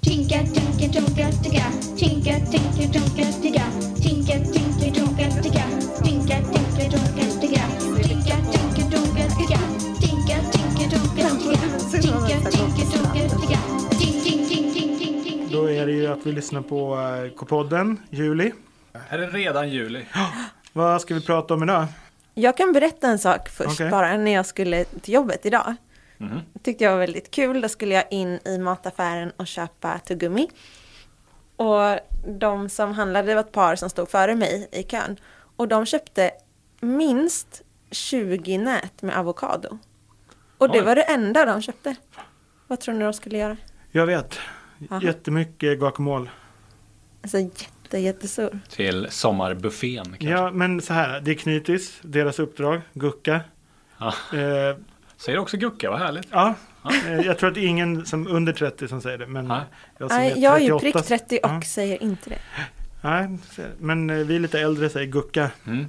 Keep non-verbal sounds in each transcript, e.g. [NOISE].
Tinka, tinka, tonka, ticka. Tinka, tinka, tonka, ticka. Tinka, tinka, tonka, ticka. Tinka, tinka, tonka, ticka. Tinka, tinka, tonka, ticka. Tinka, tinka, tonka, ticka. Tinka, tinka, tonka, ticka. Tink, tink, tink, tink, tink, tink. Då är det ju att vi lyssnar på eh, K-podden, Juli. Här är redan juli. Vad ska vi prata om idag? Jag kan berätta en sak först Okej. bara när jag skulle till jobbet idag. Det tyckte jag var väldigt kul. Då skulle jag in i mataffären och köpa tuggummi. Och de som handlade, det var ett par som stod före mig i kön. Och de köpte minst 20 nät med avokado. Och det Oj. var det enda de köpte. Vad tror ni de skulle göra? Jag vet. Aha. Jättemycket guacamole. Alltså jätte, jättestor. Till sommarbuffén kanske. Ja, men så här. Det är Knytis, deras uppdrag, Gucka. Ja. Eh, Säger också gucka, vad härligt. ja. Eh, jag tror att det är ingen som under 30 som säger det. Men Nej. jag, som Nej, jag är ju 38 prick 30 och Alltså, Ja. säger inte det. Nej, så- men eh, vi är lite äldre säger Gucka. Mm.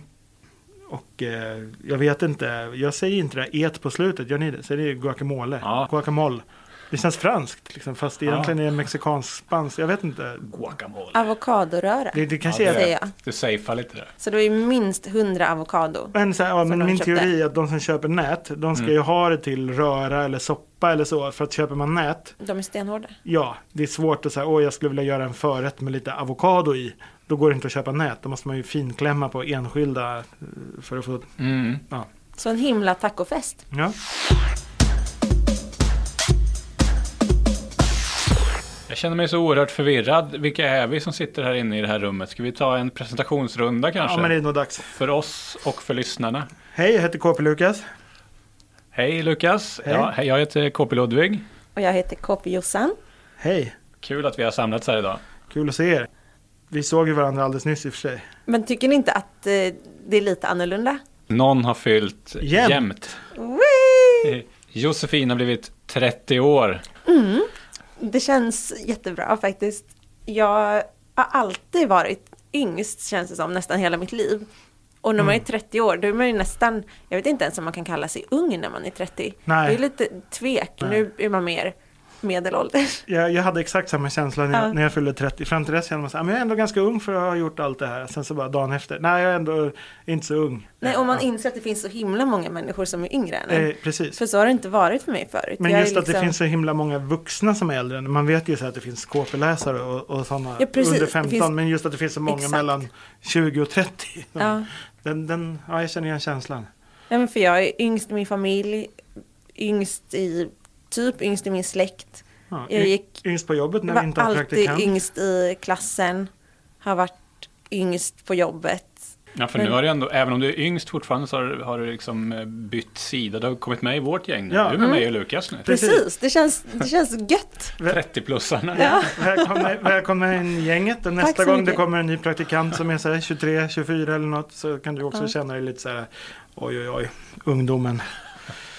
Och eh, jag vet inte, jag säger inte det här et på slutet, gör ni det? Säger ni guacamole? Ja. Guacamole. Det känns franskt, liksom, fast egentligen är det mexikansk-spanskt. Jag vet inte. Guacamole. Avokadoröra, Det, det kanske Ja, är det- det. säger jag. Du safear lite där. Så det var ju minst 100 avokado. Men, så här, ja, Som men de min köpte. teori är att de som köper nät, de Mm. ska ju ha det till röra eller soppa eller så. För att köper man nät, De är stenhårda. ja, det är svårt att säga, åh jag skulle vilja göra en förrätt med lite avokado i. Då går det inte att köpa nät, då måste man ju finklämma på enskilda eh, för att få, Mm. ja. Så en himla tacofest. ja. Jag känner mig så oerhört förvirrad. Vilka är vi som sitter här inne i det här rummet? Ska vi ta en presentationsrunda kanske? Ja men det är nog dags. För oss och för lyssnarna. Hej, jag heter KP Lukas. Hej Lukas! Hej. Ja, hej, jag heter KP Ludvig. Och jag heter KP Jossan. Hej, Kul att vi har samlats här idag. kul att se er. Vi såg ju varandra alldeles nyss i och för sig. Men tycker ni inte att eh, det är lite annorlunda? Någon har fyllt Jämt. jämt. Eh, Wee! Josefin har blivit 30 år. Det känns jättebra faktiskt. Jag har alltid varit yngst känns det som, nästan hela mitt liv. Och när man är Mm. 30 år, då är man ju nästan, jag vet inte ens om man kan kalla sig ung när man är 30. Nej. Det är lite tvek, nu är man mer medelålders. Jag, jag hade exakt samma känsla när jag, Ja. när jag fyllde 30. Fram till dess kände man så här, "Ah, "Men jag är ändå ganska ung för att ha gjort allt det här. Sen så bara dagen efter, nej jag är ändå inte så ung. Nej, och man inser att det finns så himla många människor som är yngre än en. Eh, precis. För så har det inte varit för mig förut. Men Jag är just att det liksom- finns så himla många vuxna som är äldre. än- Man vet ju så här att det finns KP-läsare och, och sådana Ja, precis. under Det 15. finns- Men just att det finns så många Exakt. mellan 20 och 30. Ja. Den, den, ja, jag känner igen känslan. Nej, men för jag är yngst i min familj, yngst i, typ yngst i min släkt. Ja, Jag y- gick- Yngst på jobbet när vi var inte har alltid praktikant. yngst i klassen, har varit yngst på jobbet. Ja, för Men- nu har du ändå, även om du är yngst fortfarande så har, du- har du liksom eh, bytt sida. Du har kommit med i vårt gäng nu. Ja. Du är med Mm. mig och Lukas nu. Precis. Precis, det, känns, det känns gött. 30-plussarna. Ja. Välkomna, välkomna in gänget. Och Nästa så gång det mycket. kommer en ny praktikant som är så här 23, 24 eller något så kan du också känna dig lite så här oj oj oj, ungdomen.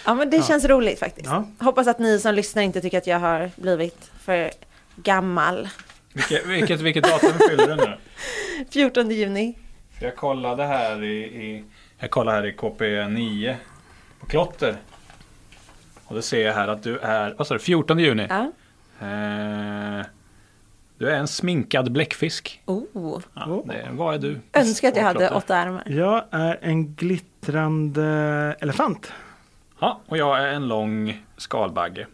Ja, men det känns roligt faktiskt. Ja. Hoppas att ni som lyssnar inte tycker att jag har blivit för gammal. Vilket, vilket, vilket datum fyller du nu? 14 juni. För jag kollade här i, i, jag kollade här i KP9 på klotter. Och då ser jag här att du är, vad sa du, 14 juni? Ja. Eh, du är en sminkad bläckfisk. Oh. Ja, Oh. det, vad är du? Önskar att jag På hade klotter. åtta armar. Jag är en glittrande elefant. Ja, och jag är en lång skalbagge.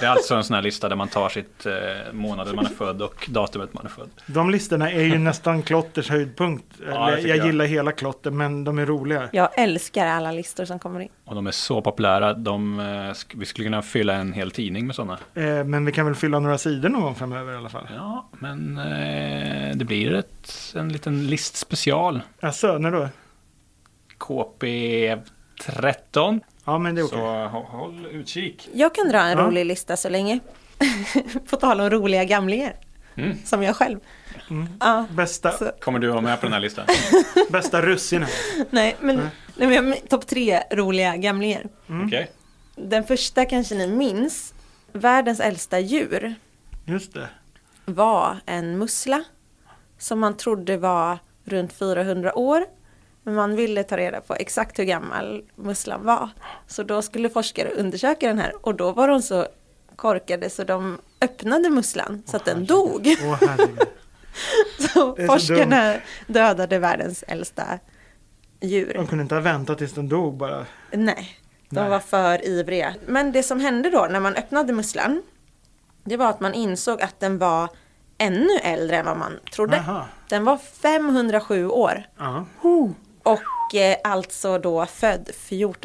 Det är alltså en sån här lista där man tar sitt eh, månaden man är född och datumet man är född. De listorna [LAUGHS] är ju nästan Klotters höjdpunkt. Eller, det tycker jag jag. gillar hela Klotter men de är roliga. Jag älskar alla listor som kommer in. Och de är så populära. De, eh, sk- vi skulle kunna fylla en hel tidning med sådana. Eh, men vi kan väl fylla några sidor någon gång framöver i alla fall. Ja, men eh, det blir ett, en liten listspecial. Jaså, när då? KP13. Ja men det är okej. Så hå- håll utkik. Jag kan dra en Ja. rolig lista så länge. [LAUGHS] på tal om roliga gamlingar. Mm. Som jag själv. Ja, Mm. Bästa, så, Kommer du vara med på den här listan? bästa russinen. nej, men, nej, men jag- topp tre roliga gamlingar. Mm. Okej. Den första kanske ni minns. Världens äldsta djur Just det. var en mussla. Som man trodde var runt 400 år. Men man ville ta reda på exakt hur gammal musslan var. Så då skulle forskare undersöka den här. Och då var de så korkade så de öppnade musslan så att den dog. [LAUGHS] Åh herregud. Så Det är så forskarna dödade världens äldsta djur. De kunde inte ha väntat tills den dog bara. Nej, de Nej. var för ivriga. Men det som hände då när man öppnade musslan, det var att man insåg att den var ännu äldre än vad man trodde. Aha. Den var 507 år Ja. och eh, alltså då född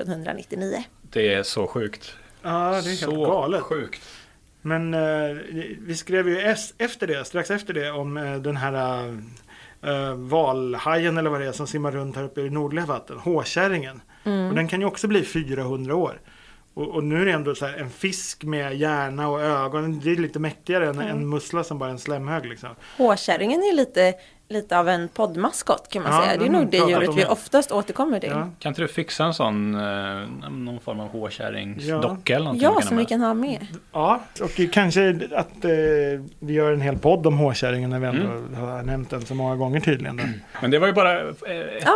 1499. Det är så sjukt. Ja, det är helt så galet. sjukt. Men eh, vi skrev ju es- efter det, strax efter det om eh, den här eh, valhajen eller vad det är som simmar runt här uppe i det nordliga vatten, håkärringen. Och den kan ju också bli 400 år. Och, och nu är det ändå så här, en fisk med hjärna och ögon, det är lite mäktigare än en mussla som bara är en slemhög. Liksom. Hårkärringen är lite, lite av en poddmaskot kan man Ja, säga. Det är den nog det pratar djuret om vi det. oftast återkommer till. Ja. Ja, Kan inte du fixa en sån, eh, någon form av hårkärringsdocka eller någonting? kan som ha vi med? kan ha med. Ja, och kanske att eh, vi gör en hel podd om håkärringen när vi ändå har nämnt den så många gånger tydligen. Då. Men det var ju bara eh,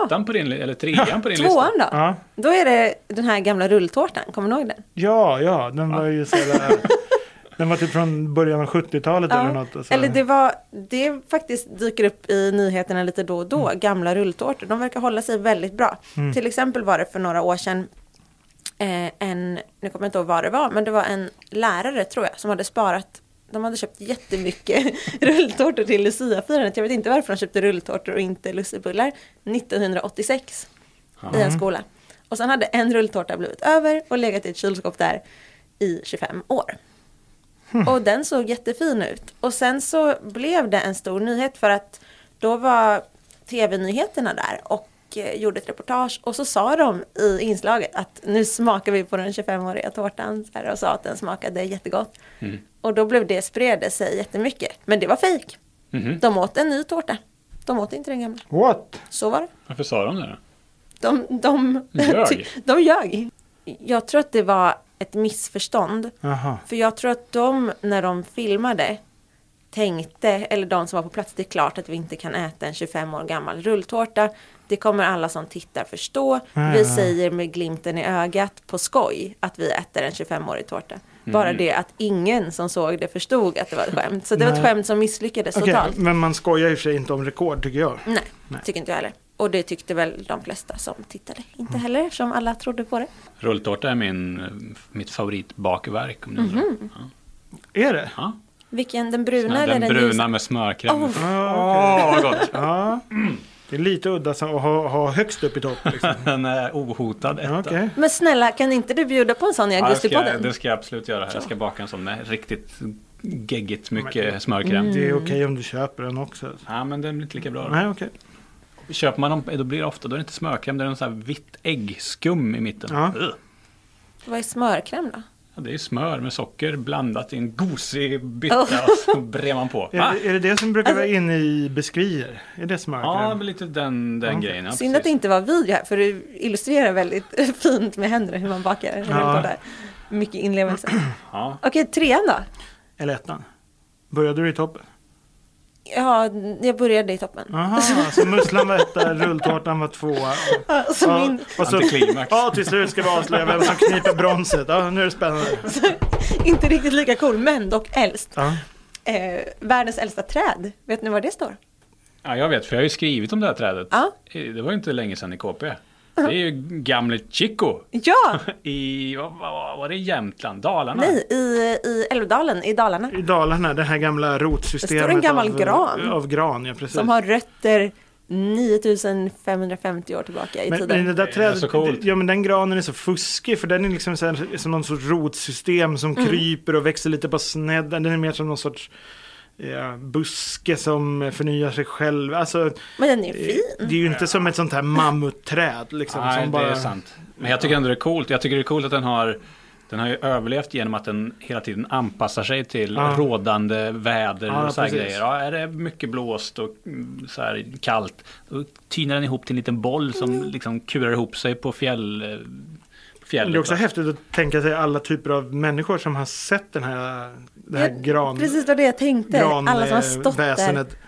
ettan på din, li- eller trean på din lista. Tvåan då? Ja. Då är det den här gamla rulltårtan, kommer du ihåg den? Ja, ja, den var ju så där, [LAUGHS] Den var typ från början av 70-talet eller Ja. något. alltså. och Så. Eller det var, det faktiskt dyker upp i nyheterna lite då och då, Mm. gamla rulltårtor. De verkar hålla sig väldigt bra. Till exempel var det för några år sedan eh, en, nu kommer jag inte ihåg vad det var, men det var en lärare tror jag som hade sparat de hade köpt jättemycket [LAUGHS] rulltårtor till Luciafirandet. Jag vet inte varför de köpte rulltårtor och inte lussebullar. 1986 i en skola. Och sen hade en rulltårta blivit över och legat i ett kylskåp där i 25 år. Och den såg jättefin ut. Och sen så blev det en stor nyhet för att då var tv-nyheterna där och eh, gjorde ett reportage och så sa de i inslaget att nu smakar vi på den 25-åriga tårtan så här, och sa att den smakade jättegott. Och då blev det, spred det sig jättemycket. Men det var fejk. Mhm. De åt en ny tårta. De åt inte den gamla. What? Så var det. Varför sa de det då? De, de, Ljög. [LAUGHS] de ljög. Jag tror att det var ett missförstånd. Jaha. För jag tror att de, när de filmade, tänkte, eller de som var på plats, det är klart att vi inte kan äta en 25 år gammal rulltårta. Det kommer alla som tittar förstå. Vi säger med glimten i ögat på skoj att vi äter en 25-årig tårta. Bara det att ingen som såg det förstod att det var ett skämt. Så det var ett Nej. skämt som misslyckades Okej, Mm. totalt. men man skojar ju för sig inte om rekord tycker jag. Nej, tycker inte jag heller. Och det tyckte väl de flesta som tittade inte heller, eftersom alla trodde på det. Rulltårta är min, eh, mitt favoritbakverk om ni undrar. Ja. Är det? Ja. Vilken, Mhm. den bruna Den, eller den, bruna ljusa? med smörkräm. Oh. Ja, Åh, vad gott! Ah, ja. Det är lite udda som att ha, ha högst upp i topp. [LAUGHS] Liksom. Den är ohotad etta. Ja, Okej. Men snälla, kan inte du bjuda på en sån i Ja, det, ska jag, Augustipodden? det ska jag absolut göra. här. Jag ska baka en sån med riktigt geggigt mycket smörkräm. Det Mm. är okej om du köper den också. Ja, men den blir inte lika bra. då. Nej, okej. Köper man dem, då blir det ofta då är det inte smörkräm, det är en sån här vitt äggskum i mitten. Ja. Ugh. Vad är smörkräm då? Ja, det är smör med socker blandat i en gosig Oh. bytta och så brer man på. [LAUGHS] Ah, Är, Va? det- är det det som brukar Alltså- vara inne i beskriver? Är det Ja, smörkräm? men lite den, den grejen. Ja, Synd att det precis. inte var video här, för du illustrerar väldigt [LAUGHS] fint med händerna hur man bakar. Ja. Där. Mycket inlevelse. Ja. Okej, trean då? Eller ettan? Började du i toppen? Ja, jag började i toppen. [LAUGHS] Aha, så musslan var etta, rulltårtan var tvåa. Ja, [LAUGHS] så Ja, min, och så, Antiklimax. ja, till slut ska vi avslöja vem som kniper bronset. Ja, nu är det spännande. inte riktigt lika cool, men dock äldst. Ja. Eh, världens äldsta träd, vet ni var det står? Ja, jag vet, för jag har ju skrivit om det här trädet. Ja. Det var ju inte länge sedan i KP. Det är [LAUGHS] ju gamle [LAUGHS] Chico [LAUGHS] Ja! i, vad vad- vad var det, Jämtland, Dalarna? Nej, i, i Älvdalen i Dalarna. I Dalarna, det här gamla rotsystemet. Det står en gammal av, gran. Av gran, ja precis. Som har rötter 9550 år tillbaka i men, men det tiden. där är trädet, så coolt. ja men den granen är så fuskig för den är liksom så här, som någon sorts rotsystem som Mm. kryper och växer lite på snedd. Den är mer som någon sorts ja, buske som förnyar sig själv. Alltså, Men den är eh, fin. det är ju inte som ett sånt här mammutträd liksom. Nej, som bara, det är sant. Men jag tycker ändå det är coolt. Jag tycker det är coolt att den har den har ju överlevt genom att den hela tiden anpassar sig till Ja. rådande väder Ja, och så här precis. grejer. Ja, är det mycket blåst och mm, så här kallt, då tynar den ihop till en liten boll som Mm. liksom kurar ihop sig på fjäll, eh, Men fjället. Det är också va? häftigt att tänka sig alla typer av människor som har sett den här, det här Ja, gran, Precis vad det jag tänkte. gran, Alla som har eh, stått där väsenet. under.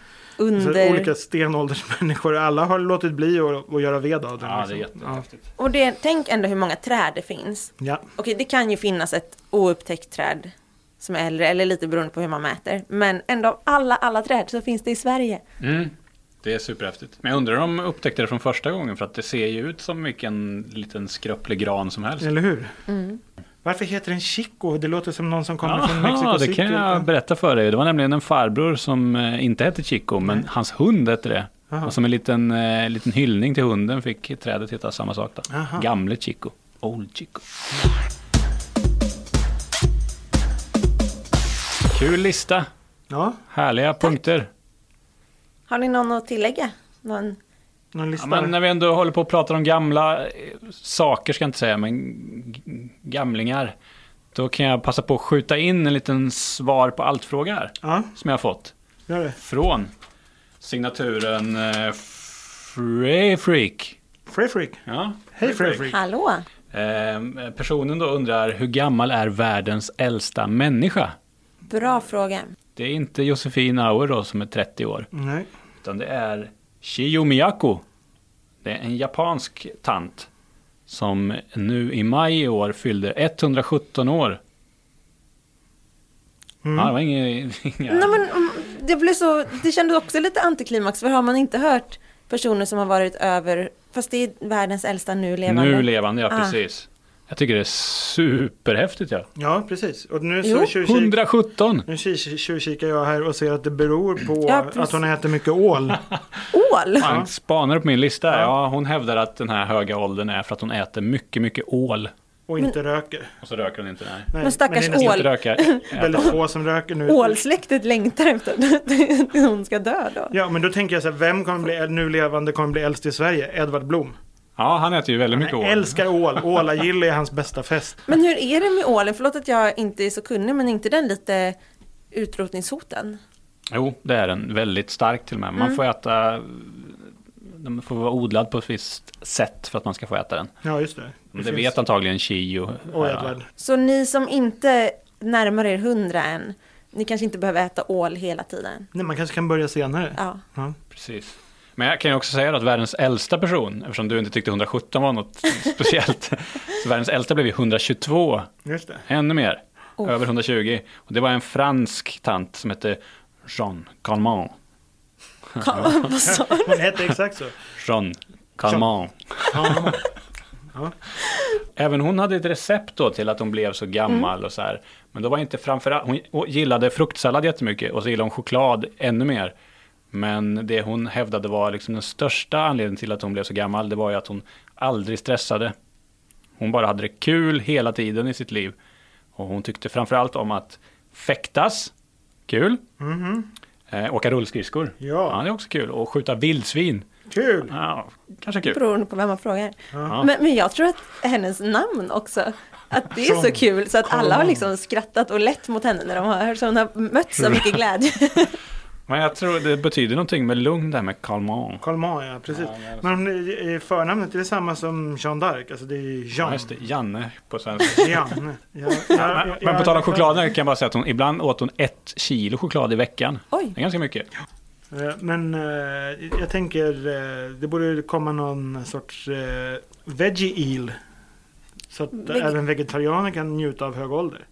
Så Alltså, olika stenåldersmänniskor, alla har låtit bli att, att göra ved av den. Ja, det är liksom. jättehäftigt. Och det, tänk ändå hur många träd det finns. Ja. Okej, det kan ju finnas ett oupptäckt träd som är äldre, eller lite beroende på hur man mäter. Men ändå av alla, alla träd så finns det i Sverige. Mm. Det är superhäftigt. Men jag undrar om de upptäckte det från första gången för att det ser ju ut som vilken liten skröplig gran som helst. Eller hur? Mm. Varför heter den Chico? Det låter som någon som kommer från Jaha, Mexico det City. typ. kan jag berätta för dig. Det var nämligen en farbror som eh, inte hette Chico, men hans hund hette det. Aha. Och som en liten, eh, liten hyllning till hunden fick trädet heta samma sak. Då. Aha. Gamle Chico. Old Chico. Kul lista. Ja, Härliga punkter. Har ni någon att tillägga? Någon? någon Ja, lista. men eh, när vi ändå håller på och pratar om gamla eh, saker, ska jag inte säga, men g- gamlingar. Då kan jag passa på att skjuta in en liten svar på allt-fråga här, ja som jag har fått. gör det. Från signaturen eh, Frey Freak. Free Freak. Ja, Hej Free Freak. Hallå? Eh, personen då undrar, hur gammal är världens äldsta människa? Bra fråga. Det är inte Josefin Auer då som är 30 år. Nej. Utan det är Shio Miyako. Det är en japansk tant. Som nu i maj i år fyllde 117 år. Mm. Ja, det var inga... [LAUGHS] inga... Nej, men, mm, det, blev så, det kändes också lite antiklimax, för har man inte hört personer som har varit över, fast det är världens äldsta nu levande. nu levande, ja Ah. precis. Jag tycker det är superhäftigt ja. Ja, precis. Och nu Jo, så tjuvkik- 117! nu tjuvkik- tjuvkikar jag här och ser att det beror på Ja, precis. att hon äter mycket [LAUGHS] ål. Ål! Han spanar upp min lista. Ja, hon hävdar att den här höga åldern är för att hon äter mycket, mycket ål. Och inte röker. Och så röker hon inte. Nej. Nej, Men stackars det är nästan ål. Inte röka. äta. Väldigt få som röker nu. Ålsläktet längtar efter att hon ska dö då. Ja, men då tänker jag så här, vem kommer bli nu levande kommer bli äldst i Sverige? Edvard Blom. Ja, han äter ju väldigt mycket Han ål. älskar ål. Ålagille är hans bästa fest. Men hur är det med ålen? Förlåt att jag inte är så kunnig, men är inte den lite utrotningshoten? Jo, det är den. Väldigt stark till och med. Man får äta... Den får vara odlad på ett visst sätt för att man ska få äta den. Ja, just det. Det, vet antagligen Chio. Och här. Edvard. Så ni som inte närmar er hundra än, ni kanske inte behöver äta ål hela tiden? Nej, man kanske kan börja senare. Ja. Ja. Precis. Men jag kan ju också säga då att världens äldsta person, eftersom du inte tyckte 117 var något [LAUGHS] speciellt, så världens äldsta blev ju 122, Just det. ännu mer, Oh. över 120. Och det var en fransk tant som hette Jean Calment. Ka- [LAUGHS] Vad sa [LAUGHS] Hon hette exakt så. Jean Calment. Ja, Även hon hade ett recept då till att hon blev så gammal och så här. Men då var inte framförallt, hon hon gillade fruktsallad jättemycket och så gillade hon choklad ännu mer. Men det hon hävdade var liksom den största anledningen till att hon blev så gammal, det var ju att hon aldrig stressade. Hon bara hade det kul hela tiden i sitt liv. Och hon tyckte framförallt om att fäktas, kul. Eh, åka rullskridskor, Ja. det är också kul. Och skjuta vildsvin, kul! ja, kanske kul. Beroende på vem man frågar. Ja. Men, men jag tror att hennes namn också, att det är så Som- kul så att alla har Kanon. liksom skrattat och lett mot henne när de har hört, så hon har mött så mycket [LAUGHS] glädje. Men jag tror det betyder någonting med lugn det här med calmant. Karl May, ja precis. Ja, men- Men eh, förnamnet är det samma som Jean d'Arc, alltså det är ju Ja, Jean. just det. Janne [LAUGHS] på svenska. Jean. Ja, ja, Men, ja, men ja, på tal ja. om chokladen kan jag bara säga att hon, ibland åt hon ett kilo choklad i veckan. Oj, Det är ganska mycket. Eh, Men eh, jag tänker, eh, det borde komma någon sorts eh, veggie eel. Så att Veg- även vegetarianer kan njuta av hög ålder.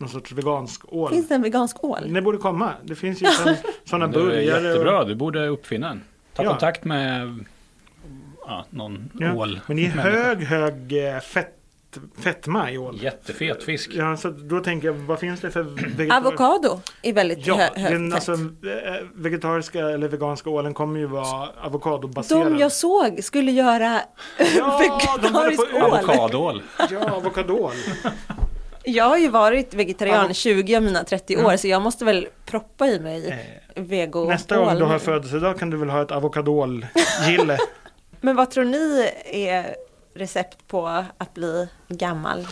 Någon sorts vegansk ål. finns det en vegansk ål? Det borde komma. Det finns ju [LAUGHS] sådana Det är burgare. och- jättebra, du borde uppfinna den. Ta Ja. kontakt med ja, någon Ja, ål. Men det är människa. hög, hög eh, fett, fetma i ål. Jättefet fisk. Ja, så då tänker jag, vad finns det för vegetar- Avokado är väldigt Ja, hö- högt den, fett. alltså, eh, vegetariska eller veganska ålen kommer ju vara avokadobaserad. De jag såg skulle göra Ja, de håller vegetarisk på- ål. Avokadål. Ja, avokadol. Jag har ju varit vegetarian Avok- 20 av mina 30 år så jag måste väl proppa i mig Eh, vego Nästa gång ål. du har födelsedag kan du väl ha ett [LAUGHS] avokadolgille. Men vad tror ni är recept på att bli gammal? Eh.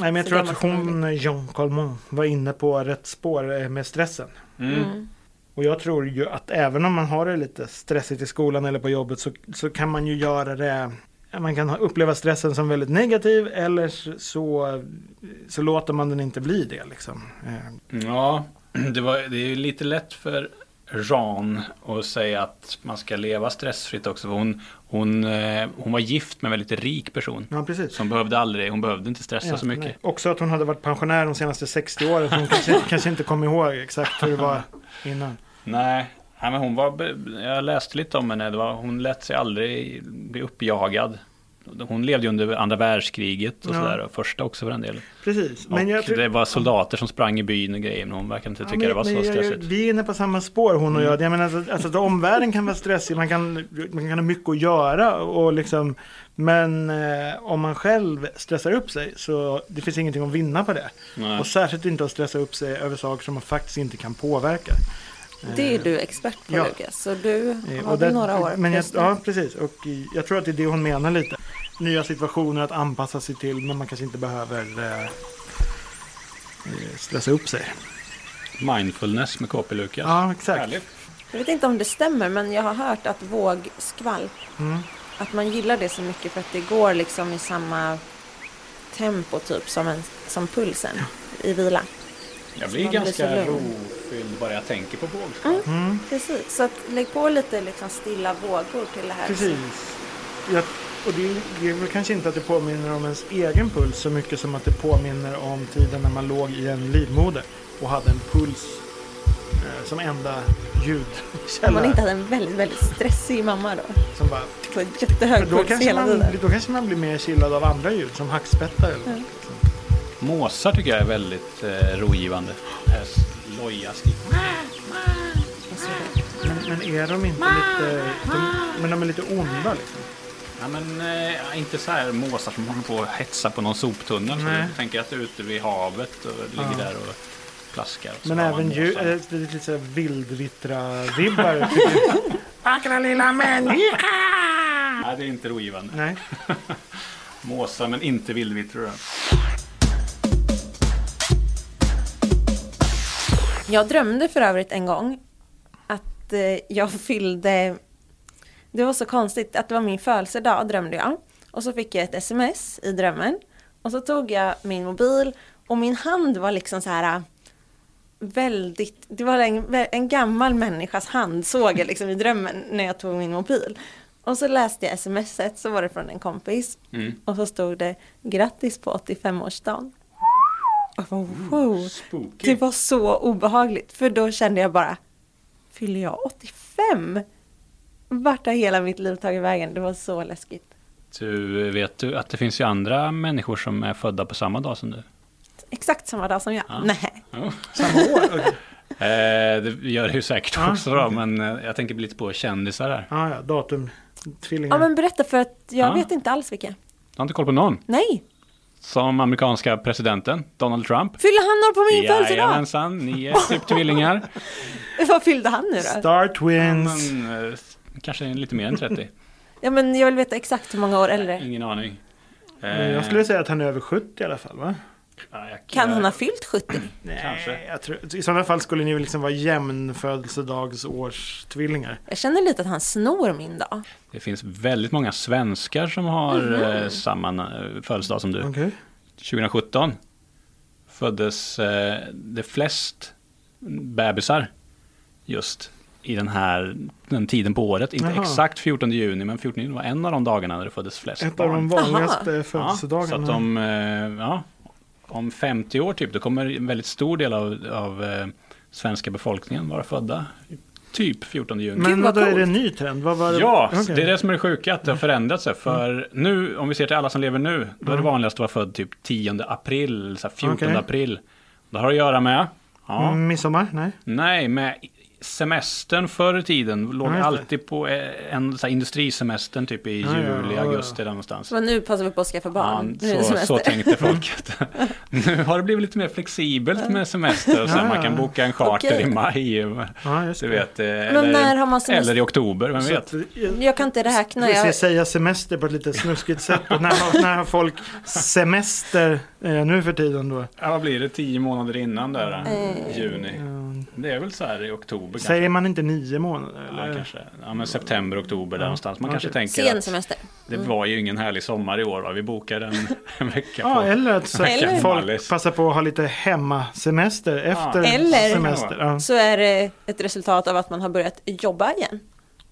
Nej, men jag Så tror gammal att som man hon, Jean Calment, var inne på rätt spår eh, med stressen. Mm. Och jag tror ju att även om man har det lite stressigt i skolan eller på jobbet så, så kan man ju göra det man kan ha- uppleva stressen som väldigt negativ eller så, så låter man den inte bli det. Liksom. Eh, Ja, det, var, det är ju lite lätt för Ran och säga att man ska leva stressfritt också. För hon, hon, eh, hon var gift med en väldigt rik person. Ja, precis. Så hon behövde aldrig, hon behövde inte stressa så mycket. nej. Också att hon hade varit pensionär de senaste 60 åren. så Hon [LAUGHS] kanske, kanske inte kommer ihåg exakt hur det var innan. Nej, nej men hon var, be- jag läste lite om henne. Det var, hon lät sig aldrig bli uppjagad. Hon levde ju under andra världskriget och Ja. sådär, och första också för en del. Precis. Men Men och jag tror- det var soldater som sprang i byn och grejer, men hon verkar inte Ja, tycka men- det var men så jag- jag- stressigt. Mm. Vi är inne på samma spår hon och jag. Jag menar alltså, alltså att omvärlden kan vara stressig, man kan, man kan ha mycket att göra och liksom men eh, om man själv stressar upp sig så det finns ingenting att vinna på det. Nej. Och särskilt inte att stressa upp sig över saker som man faktiskt inte kan påverka. Det är du expert på Ja. Lukas, så du Eh, har väl där- några år men jag, plus nu. Ja, precis. Och i- jag tror att det är det hon menar lite. Nya situationer att anpassa sig till, men man kanske inte behöver eh, eh, stressa upp sig. Mindfulness med KP Lukas. Ja, exakt. Härligt. Jag vet inte om det stämmer, men jag har hört att vågskvalp, Mm. att man gillar det så mycket för att det går liksom i samma tempo typ som, en, som pulsen i vila. Jag Man blir blir så ganska lugn. rofylld bara jag tänker på vågskål. Mm. Precis, så att lägg på lite liksom stilla vågor till det här. Precis. Ja, och det, det är väl kanske inte att det påminner om ens egen puls så mycket som att det påminner om tiden när man låg i en livmoder och hade en puls eh, som enda ljudkälla. Om man inte hade en väldigt, väldigt stressig mamma då. som bara, På en för jättehög då, puls kanske hela man, tiden. då kanske man blir mer chillad av andra ljud som hackspettar eller något. Måsar tycker jag är väldigt eh, rogivande. Eh, s- Loja, skrik- Men, men är de inte lite, de, men de är lite onda liksom? Ja, men, eh, inte så här måsar som håller på och hetsar på någon soptunnel. Så Nej. jag tänker att det är ute vid havet och ligger Ja. där och plaskar. Och så Men har man även ljud, måsar. äh, lite, lite såhär vildvittra-vibbar. [LAUGHS] tycker jag. Vackra lilla människa! Nej, det är inte rogivande. Nej. Måsar men inte vildvittror. Jag drömde för övrigt en gång att eh, jag fyllde... Det var så konstigt att det var min födelsedag drömde jag. Och så fick jag ett sms i drömmen. Och så tog jag min mobil och min hand var liksom så här eh, väldigt, det var en, en gammal människas hand såg jag liksom i drömmen när jag tog min mobil. Och så läste jag smset, så var det från en kompis. Och så stod det grattis på 85-årsdagen. Och jag bara, wow. spooky. Det var så obehagligt, för då kände jag bara, fyller jag 85? Vart har hela mitt liv tagit vägen? Det var så läskigt. Du, eh, vet du att det finns ju andra människor som är födda på samma dag som du? Exakt samma dag som jag. Nej. Ja. Samma [LAUGHS] år? Okej. Eh, det gör det ju säkert Ja. också då, men eh, jag tänker lite på kändisar här. Ah, ja, datum. Tvillingar. Ja men berätta för att jag Ja. vet inte alls vilka. Du har inte koll på någon? Nej, Som amerikanska presidenten, Donald Trump. fyller han år på min födelsedag? Jajamensan, [LAUGHS] ni är typ tvillingar. Vad fyllde han nu då? Star Twins. Men, eh, kanske lite mer än [LAUGHS] 30. Ja men jag vill veta exakt hur många år äldre. Ingen aning. Eh, Men Jag skulle säga att han är över 70 i alla fall va? ja, jag- Kan han ha fyllt 70? Nej, Kanske. Jag tror, I sådana fall skulle ni väl liksom vara jämnfödelsedagsårstvillingar. Jag känner lite att han snor min dag. Det finns väldigt många svenskar som har Mhm. eh, samma na- födelsedag som du. Okej. 2017 föddes eh, de flest bebisar just i den här den tiden på året. Inte Jaha. exakt 14 juni, men 14 juni var en av de dagarna när det föddes flest Ett av barn. de vanligaste födelsedagarna. Ja, så att de, eh, ja, om 50 år typ, då kommer en väldigt stor del av, av eh, svenska befolkningen vara födda typ 14 juni. Men Gud, vad vad är det en coolt. ny trend? Vad var det? Ja, Okej. Mm. det är det som är det sjuka, att det har förändrats. här. För nu, om vi ser till alla som lever nu, då är det vanligast att vara född typ 10 april, så här 14 Mm. Okej. april. Det har att göra med, ja, Mm, Midsommar? Nej. nej, med semestern förr i tiden låg Ja, just det. alltid på eh, en så här, industrisemestern typ i Ja, ja, ja, juli, ja. augusti där någonstans. Så nu passar vi på att skaffa barn. nu är Ja, det så, typ- semester. så tänkte [LAUGHS] folket. nu har det blivit lite mer flexibelt med semester och så här, Ja, man ja. kan boka en charter Okej. i maj. Ja, just Du det. vet, eh, eller, när har man semester? eller i oktober, vem Så vet? att, eh, Jag kan inte räkna. vi ska Jag... säga semester på ett lite snuskigt sätt. Och när, har, när har folk semester eh, nu för tiden då? Ja, vad blir det? Tio månader innan där, eh, juni. Eh, Det är väl så här i oktober kanske. Säger man inte nio månader? Ja, Eller? kanske. Ja, men september, oktober där Ja, någonstans. Man okej. kanske tänker Sen att semester. det var ju ingen härlig sommar i år. Va? Vi bokar en, [LAUGHS] en vecka på. Ja, eller att så här, Eller- folk Mallis. passar på att ha lite hemmasemester efter Eller- semester. Ja. Så är det ett resultat av att man har börjat jobba igen.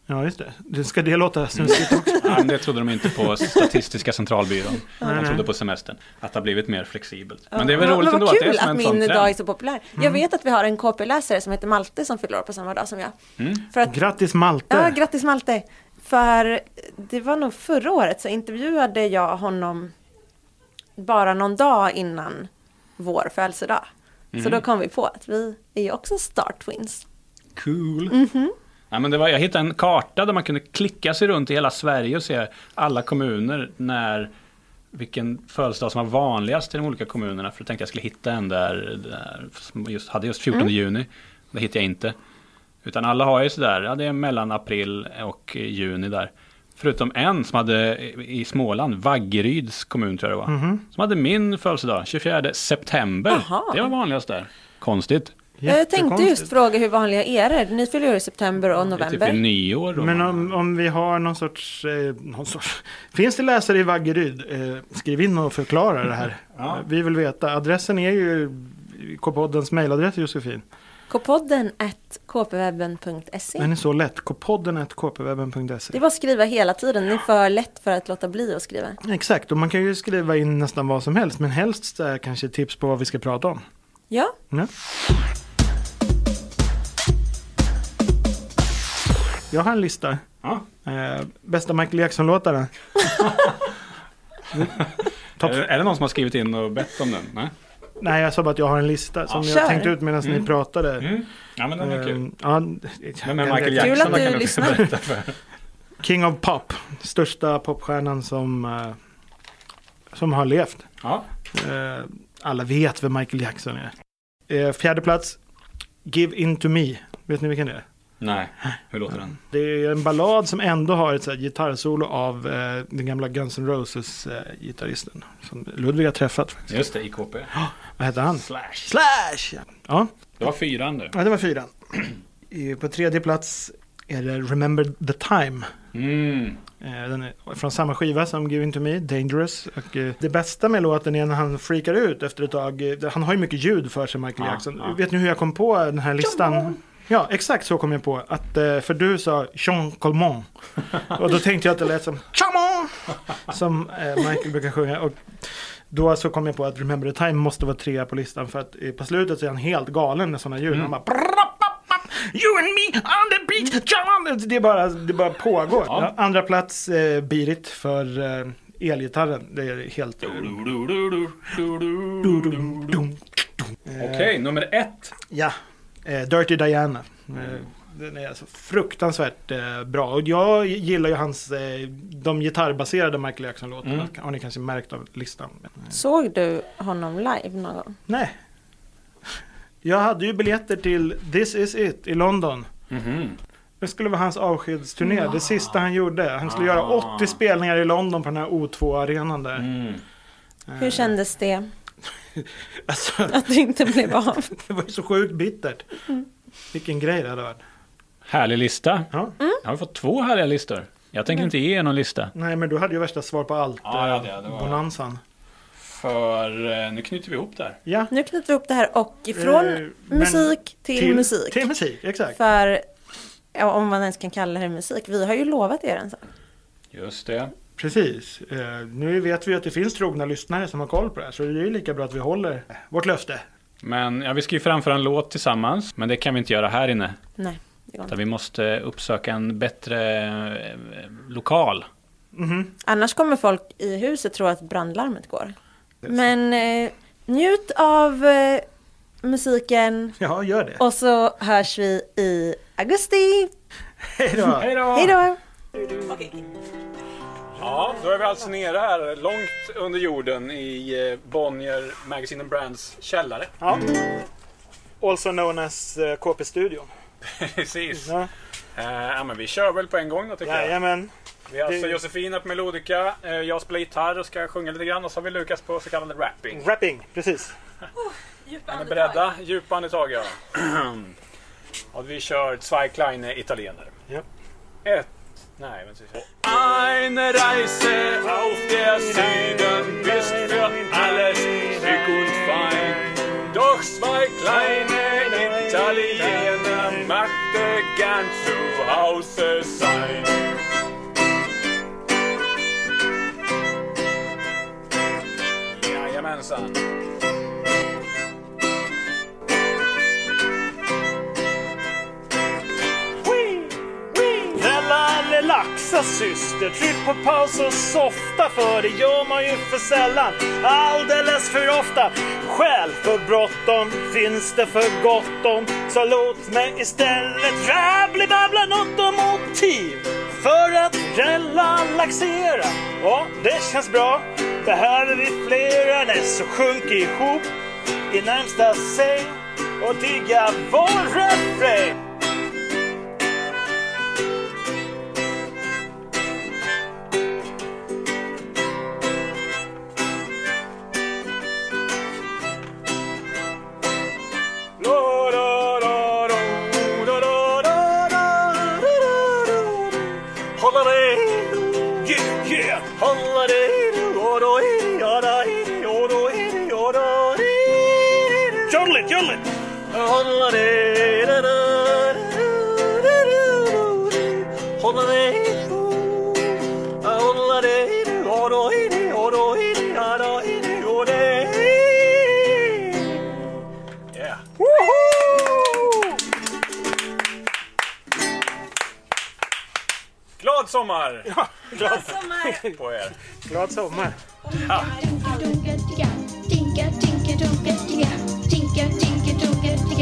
ja, just det. det ska det låta [LAUGHS] snuskigt också? Ja, men det trodde de inte på Statistiska centralbyrån. Nej. De trodde på semestern. Att det har blivit mer flexibelt. Men det är väl Ja, roligt men ändå vad att det är kul som att en sån min dag är trend. Mm. så populär. Jag vet att vi har en KP-läsare som heter Malte som fyller år på samma dag som jag. Mm. För att, Grattis Malte! ja, grattis Malte! För det var nog förra året så intervjuade jag honom bara någon dag innan vår födelsedag. Så Mm. då kom vi på att vi är ju också Star Twins. Cool. Ja, men det var, jag hittade en karta där man kunde klicka sig runt i hela Sverige och se alla kommuner när vilken födelsedag som var vanligast i de olika kommunerna. För jag tänkte jag skulle hitta en där, där som just, hade just 14 juni. Det hittade jag inte. Utan alla har ju sådär, ja det är mellan april och juni där. Förutom en som hade i i Småland, Vaggeryds kommun tror jag det var. Som hade min födelsedag, 24 september. Jaha. Det var vanligast där. Konstigt. Eh, Jag tänkte Jättekonstigt. just fråga hur vanliga är det? Ni fyller ju i september och Det är typ vid november. nyår. då Men man- om, om vi har någon sorts, eh, någon sorts... Finns det läsare i Vaggeryd? Eh, skriv in och förklara det här. Ja. Eh, Vi vill veta. Adressen är ju K-poddens mejladress Josefin. Kpodden at kpwebben.se. Den är så lätt. Kpodden kpwebben.se. Det var skriva hela tiden, det är för lätt för att låta bli att skriva. Exakt, och man kan ju skriva in nästan vad som helst. Men helst så här, kanske tips på vad vi ska prata om. Ja, Ja. Jag har en lista. Ja. Eh, bästa Michael Jackson-låtarna. Topp. Är, det- är det någon som har skrivit in och bett om den? Nej? Nej, jag sa bara att jag har en lista som Ja. jag Kör. tänkte ut medan ni pratade. Mm. Ja, men den är kul. Ehm, ja, Vem är Michael Kul Jackson? att du kan också lyssnar. berätta för. King of Pop. Största popstjärnan som, eh, som har levt. Ja. Eh, alla vet vem Michael Jackson är. Eh, fjärde plats, Give In To Me. Vet ni vilken det är? Nej, hur låter den? Det är en ballad som ändå har ett så här gitarrsolo av eh, den gamla Guns N' Roses-gitarristen. som Ludvig har träffat. faktiskt. Just det, IKP. Vad heter han? Slash. Slash! ja. Ja, Det var fyran du. ja det var fyran. [CLEARS THROAT] Eh, På tredje plats är det Remember The Time. Mm. Eh, Den är från samma skiva som Give In To Me, Dangerous. Och eh, det bästa med låten är när han freakar ut efter ett tag. Eh, Han har ju mycket ljud för sig, Michael Ja, Jackson. ja. Vet ni hur jag kom på den här listan? Ja, exakt så kom jag på. Att, eh, för du sa Jean Colmont. Och då tänkte jag att det lät som Chamon! Som eh, Michael brukar sjunga. Och då så kom jag på att Remember the Time måste vara trea på listan. För att eh, på slutet så är han helt galen med sådana Mm. ljud. Han bara, "Brrrra, papp, papp, You and me on the beach! Chamon! Det, är bara, det bara pågår. Ja. Andra plats, eh, Birit för eh, elgitarren. Det är helt... Eh, Okej, nummer ett. Ja, eh, Dirty Diana. Mm. Eh, den är alltså fruktansvärt eh, bra. Och jag gillar ju hans, eh, de gitarrbaserade Michael Jackson-låtarna. Mm. Har ni kanske märkt av listan. såg du honom live någon gång? Nej. Jag hade ju biljetter till This is it i London. Mhm. Det skulle vara hans avskedsturné, det sista han gjorde. Han skulle göra 80 spelningar i London på den här O2-arenan där. Ah. Eh, Mm. Hur kändes det Alltså, [LAUGHS] att du inte blev av? det var ju så sjukt bittert. Vilken grej det hade varit. Härlig lista. Ja. Jag har fått två härliga listor. Jag tänker inte ge er någon lista. Nej, men du hade ju värsta svar på allt. Ja, eh, ja, det- det var- Bonanzan. För eh, nu knyter vi ihop där. Ja. Nu knyter vi ihop det här och ifrån Eh, men- musik till, musik. Till musik, exakt. För, ja, om man ens kan kalla det musik, vi har ju lovat er en sak. Just det. Precis. Eh, nu vet vi ju att det finns trogna lyssnare som har koll på det här, så det är ju lika bra att vi håller vårt löfte. Men ja, vi ska ju framföra en låt tillsammans. Men det kan vi inte göra här inne. Nej, det Utan går inte. vi måste uppsöka en bättre eh, lokal. Mhm. Annars kommer folk i huset tro att brandlarmet går. Men eh, njut av eh, musiken Ja, gör det. och så hörs vi i augusti. Hej då! Hej då! Hej då! Ja, då är vi alltså nere här, långt under jorden i eh, Bonnier Magazine and Brands källare. Ja. Also known as eh, KP-studion. [LAUGHS] Precis. Ja. Eh, Ja, men vi kör väl på en gång då tycker jag. Jajamän. Vi har alltså det- Josefina på melodika, eh, jag spelar gitarr och ska sjunga lite grann och så har vi Lukas på så kallad rapping. Rapping, precis. [CLEARS THROAT] Är ni beredda? Djupa andetag ja. Och vi kör Zwei kleine Italiener. Ja. Ett... Nej, vänta. vi kör. Eine Reise auf der Süden ist für alles schick und fein. Doch zwei kleine Italiener machte gern zu Hause sein. Jajamensan. Snälla relaxa syster, tryck på paus och softa för det gör man ju för sällan, alldeles för ofta. Skäl för bråttom finns det för gott om, så låt mig istället rabbli-babbla något om motiv för att relaxera. Ja, det känns bra. Behöver vi flera? Nej, så sjunk ihop i närmsta säng och digga vår refräng. Jodel it, jodel it. Yeah. Glad sommar Sommar. på er! Glad sommar. Tinka, tinka, dunka, tinka. Tinka, tinka, dunka, tinka.